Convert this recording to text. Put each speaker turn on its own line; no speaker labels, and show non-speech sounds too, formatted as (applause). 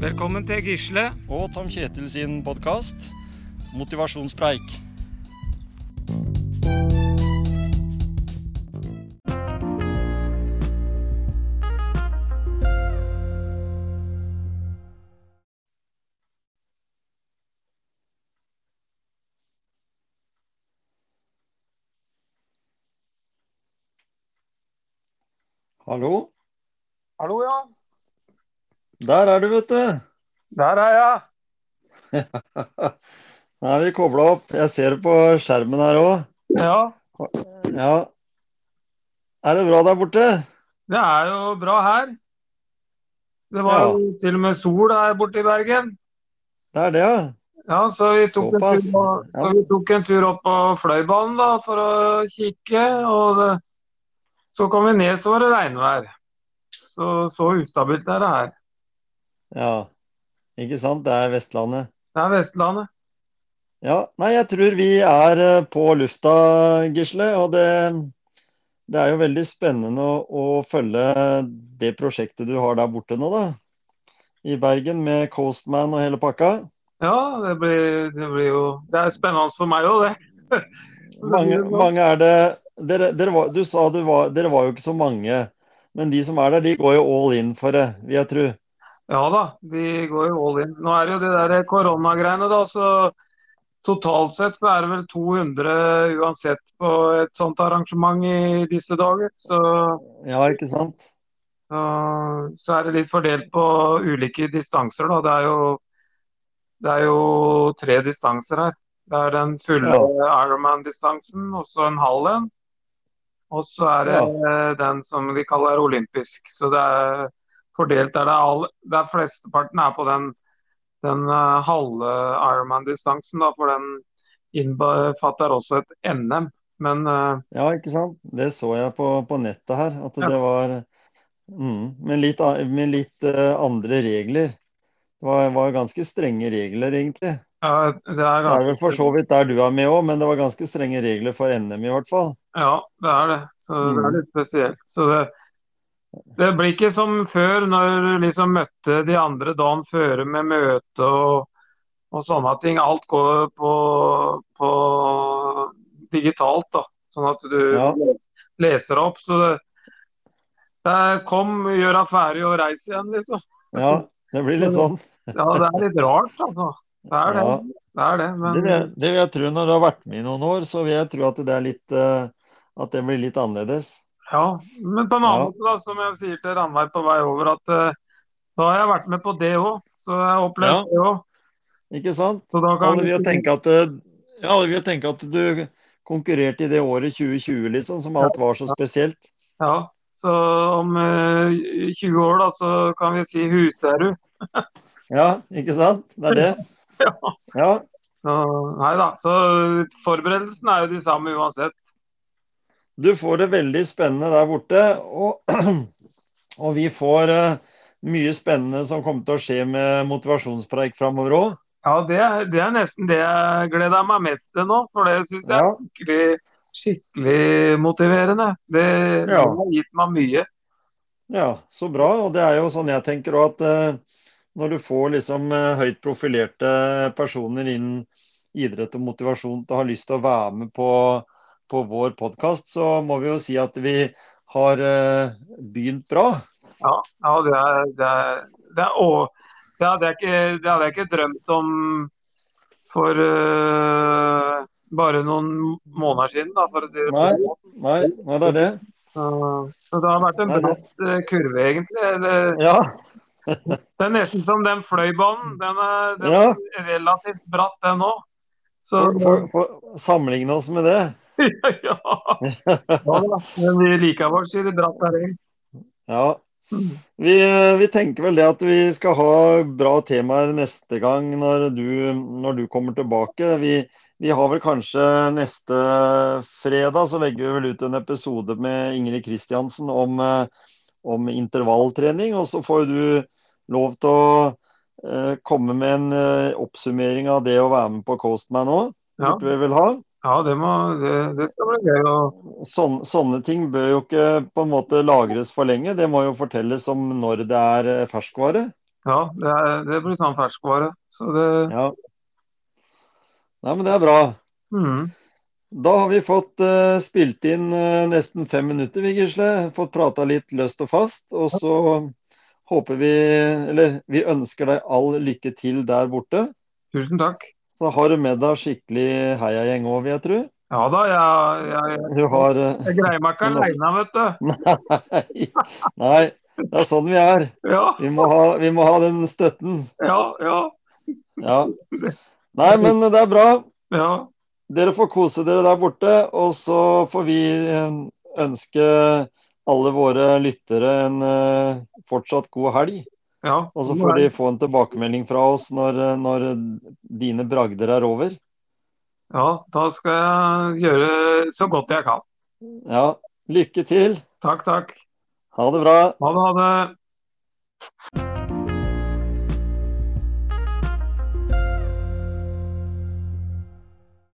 Velkommen til Gisle.
og Tom Kjetil sin podkast Motivasjonspreik. Hallo.
Hallo, ja.
Der er du, vet du.
Der er jeg.
Nå er vi kobla opp. Jeg ser det på skjermen her òg.
Ja,
Ja. Er det bra der borte?
det er jo bra her. Det var
Ja.
jo til og med sol her borte i Bergen.
Det er det, ja.
Ja, så vi tok, en
Såpass.
tur, på-
Ja.
så vi tok en tur opp på Fløibanen da, for å kikke. Og det, så kom vi ned, så var det regnvær. Så, så ustabilt er det her.
Ja. Ikke sant? Det er Vestlandet.
Det er Vestlandet.
Ja. Nei, jeg tror vi er eh, på lufta, Gisle. Og det, det er jo veldig spennende å, å følge det prosjektet du har der borte nå, da. I Bergen med Coastman og hele pakka.
Ja, det blir, det blir jo Det er spennende for meg òg, det.
Mange, mange er det dere, dere var, Du sa det var, dere var jo ikke så mange. Men de som er der, de går jo all in for det, vil jeg tro.
Ja da, de går jo all in. Nå er det jo de der koronagreiene, da, så totalt sett så er det vel 200 uansett på et sånt arrangement i disse dager. Så,
Ja, ikke sant?
øh, så er det litt fordelt på ulike distanser, da. Det er jo, det er jo tre distanser her. Det er den fulle Ironman-distansen, og så en halv en. Og så er det eh, den som de kaller olympisk. Så det er fordelt der det er all, det er flesteparten er på den, den eh, halve Ironman-distansen, da, for den innbefatter også et NM. Men eh,
Ja, ikke sant? Det så jeg på, på nettet her, at
Ja.
det var mm, med litt, a- med litt eh, andre regler. Det var, var ganske strenge regler, egentlig.
ja, det er
Det er
ganske
vel for så vidt der du er med òg, men det var ganske strenge regler for NM i hvert fall.
Ja, det er det. Så det
Mm.
er litt spesielt. Så det, det blir ikke som før, når du liksom møtte de andre dagen før med møte og, og sånne ting. Alt går på, på digitalt, da. Sånn at du
Ja.
leser opp. Så det, det er kom, gjør deg ferdig og reis igjen, liksom.
Ja, det blir litt sånn.
Ja, det er litt rart, altså. Det er det.
Ja.
Det er det. Men
Det, vil- det vil jeg tro når du har vært med i noen år, så vil jeg tro at det er litt eh, At det blir litt annerledes.
Ja, men på en annen
Ja.
måte, da, som jeg sier til Ranveig på vei over, at eh, da har jeg vært med på det òg. Så jeg har opplevd
Ja.
det òg.
Ikke sant?
Så da kan
Alle vil jo tenke at, eh, ja, alle vil jo tenke at du konkurrerte i det året 2020, liksom, som alt var så spesielt.
Ja, så om eh, 20 år, da, så kan vi si Huserud.
Ja, ikke sant? Det er det. (laughs) Ja,
Så, nei da, så forberedelsen er jo de samme uansett.
du får det veldig spennende der borte. Og, (clears throat) og vi får eh, mye spennende som kommer til å skje med motivasjonspreik framover òg.
Ja, det, er- det er nesten det jeg gleder meg mest til nå, for det syns jeg
Ja,
er skikkelig, skikkelig motiverende. Det, det
Ja.
har gitt meg mye.
ja, så bra. Og det er jo sånn jeg tenker òg at eh, når du får liksom eh, høyt profilerte personer innen idrett og motivasjon til å ha lyst til å være med på, på vår podkast, så må vi jo si at vi har eh, begynt bra.
Ja, ja det, er, det, er, det, er, og, det, hadde jeg ikke, det hadde jeg ikke drømt om for eh, bare noen måneder siden, da, for å si det
Nei.
sånn.
Nei, nei det er det.
Så, så det har vært en
Nei, det-
bratt eh, kurve, egentlig. Eller,
Ja.
det er nesten som den fløibanen. Den er, den
Ja.
er relativt bratt, den òg. Så
For, for, for sammenligne oss med det.
(laughs) ja. ja da. Men vi liker vårt, sier de bratt terreng.
Ja. Vi, vi tenker vel det at vi skal ha bra temaer neste gang når du, når du kommer tilbake. Vi, vi har vel kanskje neste fredag så legger vi vel ut en episode med Ingrid Kristiansen om, eh, om intervalltrening. Og så får du lov til å eh, komme med en eh, oppsummering av det å være med på Coastman òg.
Ja.
Burde vi vel ha.
Ja, det, må, det, det skal bli gøy. å...
sånne, Sånn, sånne ting bør jo ikke på en måte lagres for lenge. Det må jo fortelles om når det er eh, ferskvare.
Ja, det, er, det blir sånn ferskvare. Så det
Ja. Nei, men det er bra.
mm,
Da har vi fått eh, spilt inn eh, nesten fem minutter, vi, Gisle. Fått prata litt løst og fast. Og så håper vi, eller vi ønsker deg all lykke til der borte.
Tusen takk.
Så har du med deg skikkelig heiagjeng òg, vil jeg tro.
Ja da, jeg, jeg,
Du har eh,
jeg greier meg ikke
Men også-
aleine, vet du.
Nei. Nei, det er sånn vi er.
Ja,
Vi må ha, vi må ha den støtten.
ja, ja.
Ja. Nei, men det er bra.
ja.
Dere får kose dere der borte, og så får vi eh, ønske alle våre lyttere en eh, fortsatt god helg.
ja.
Og så får de få en tilbakemelding fra oss når, eh, når dine bragder er over.
Ja, da skal jeg gjøre så godt jeg kan.
Ja, lykke til.
Takk, takk.
Ha det bra.
Ha det, ha det.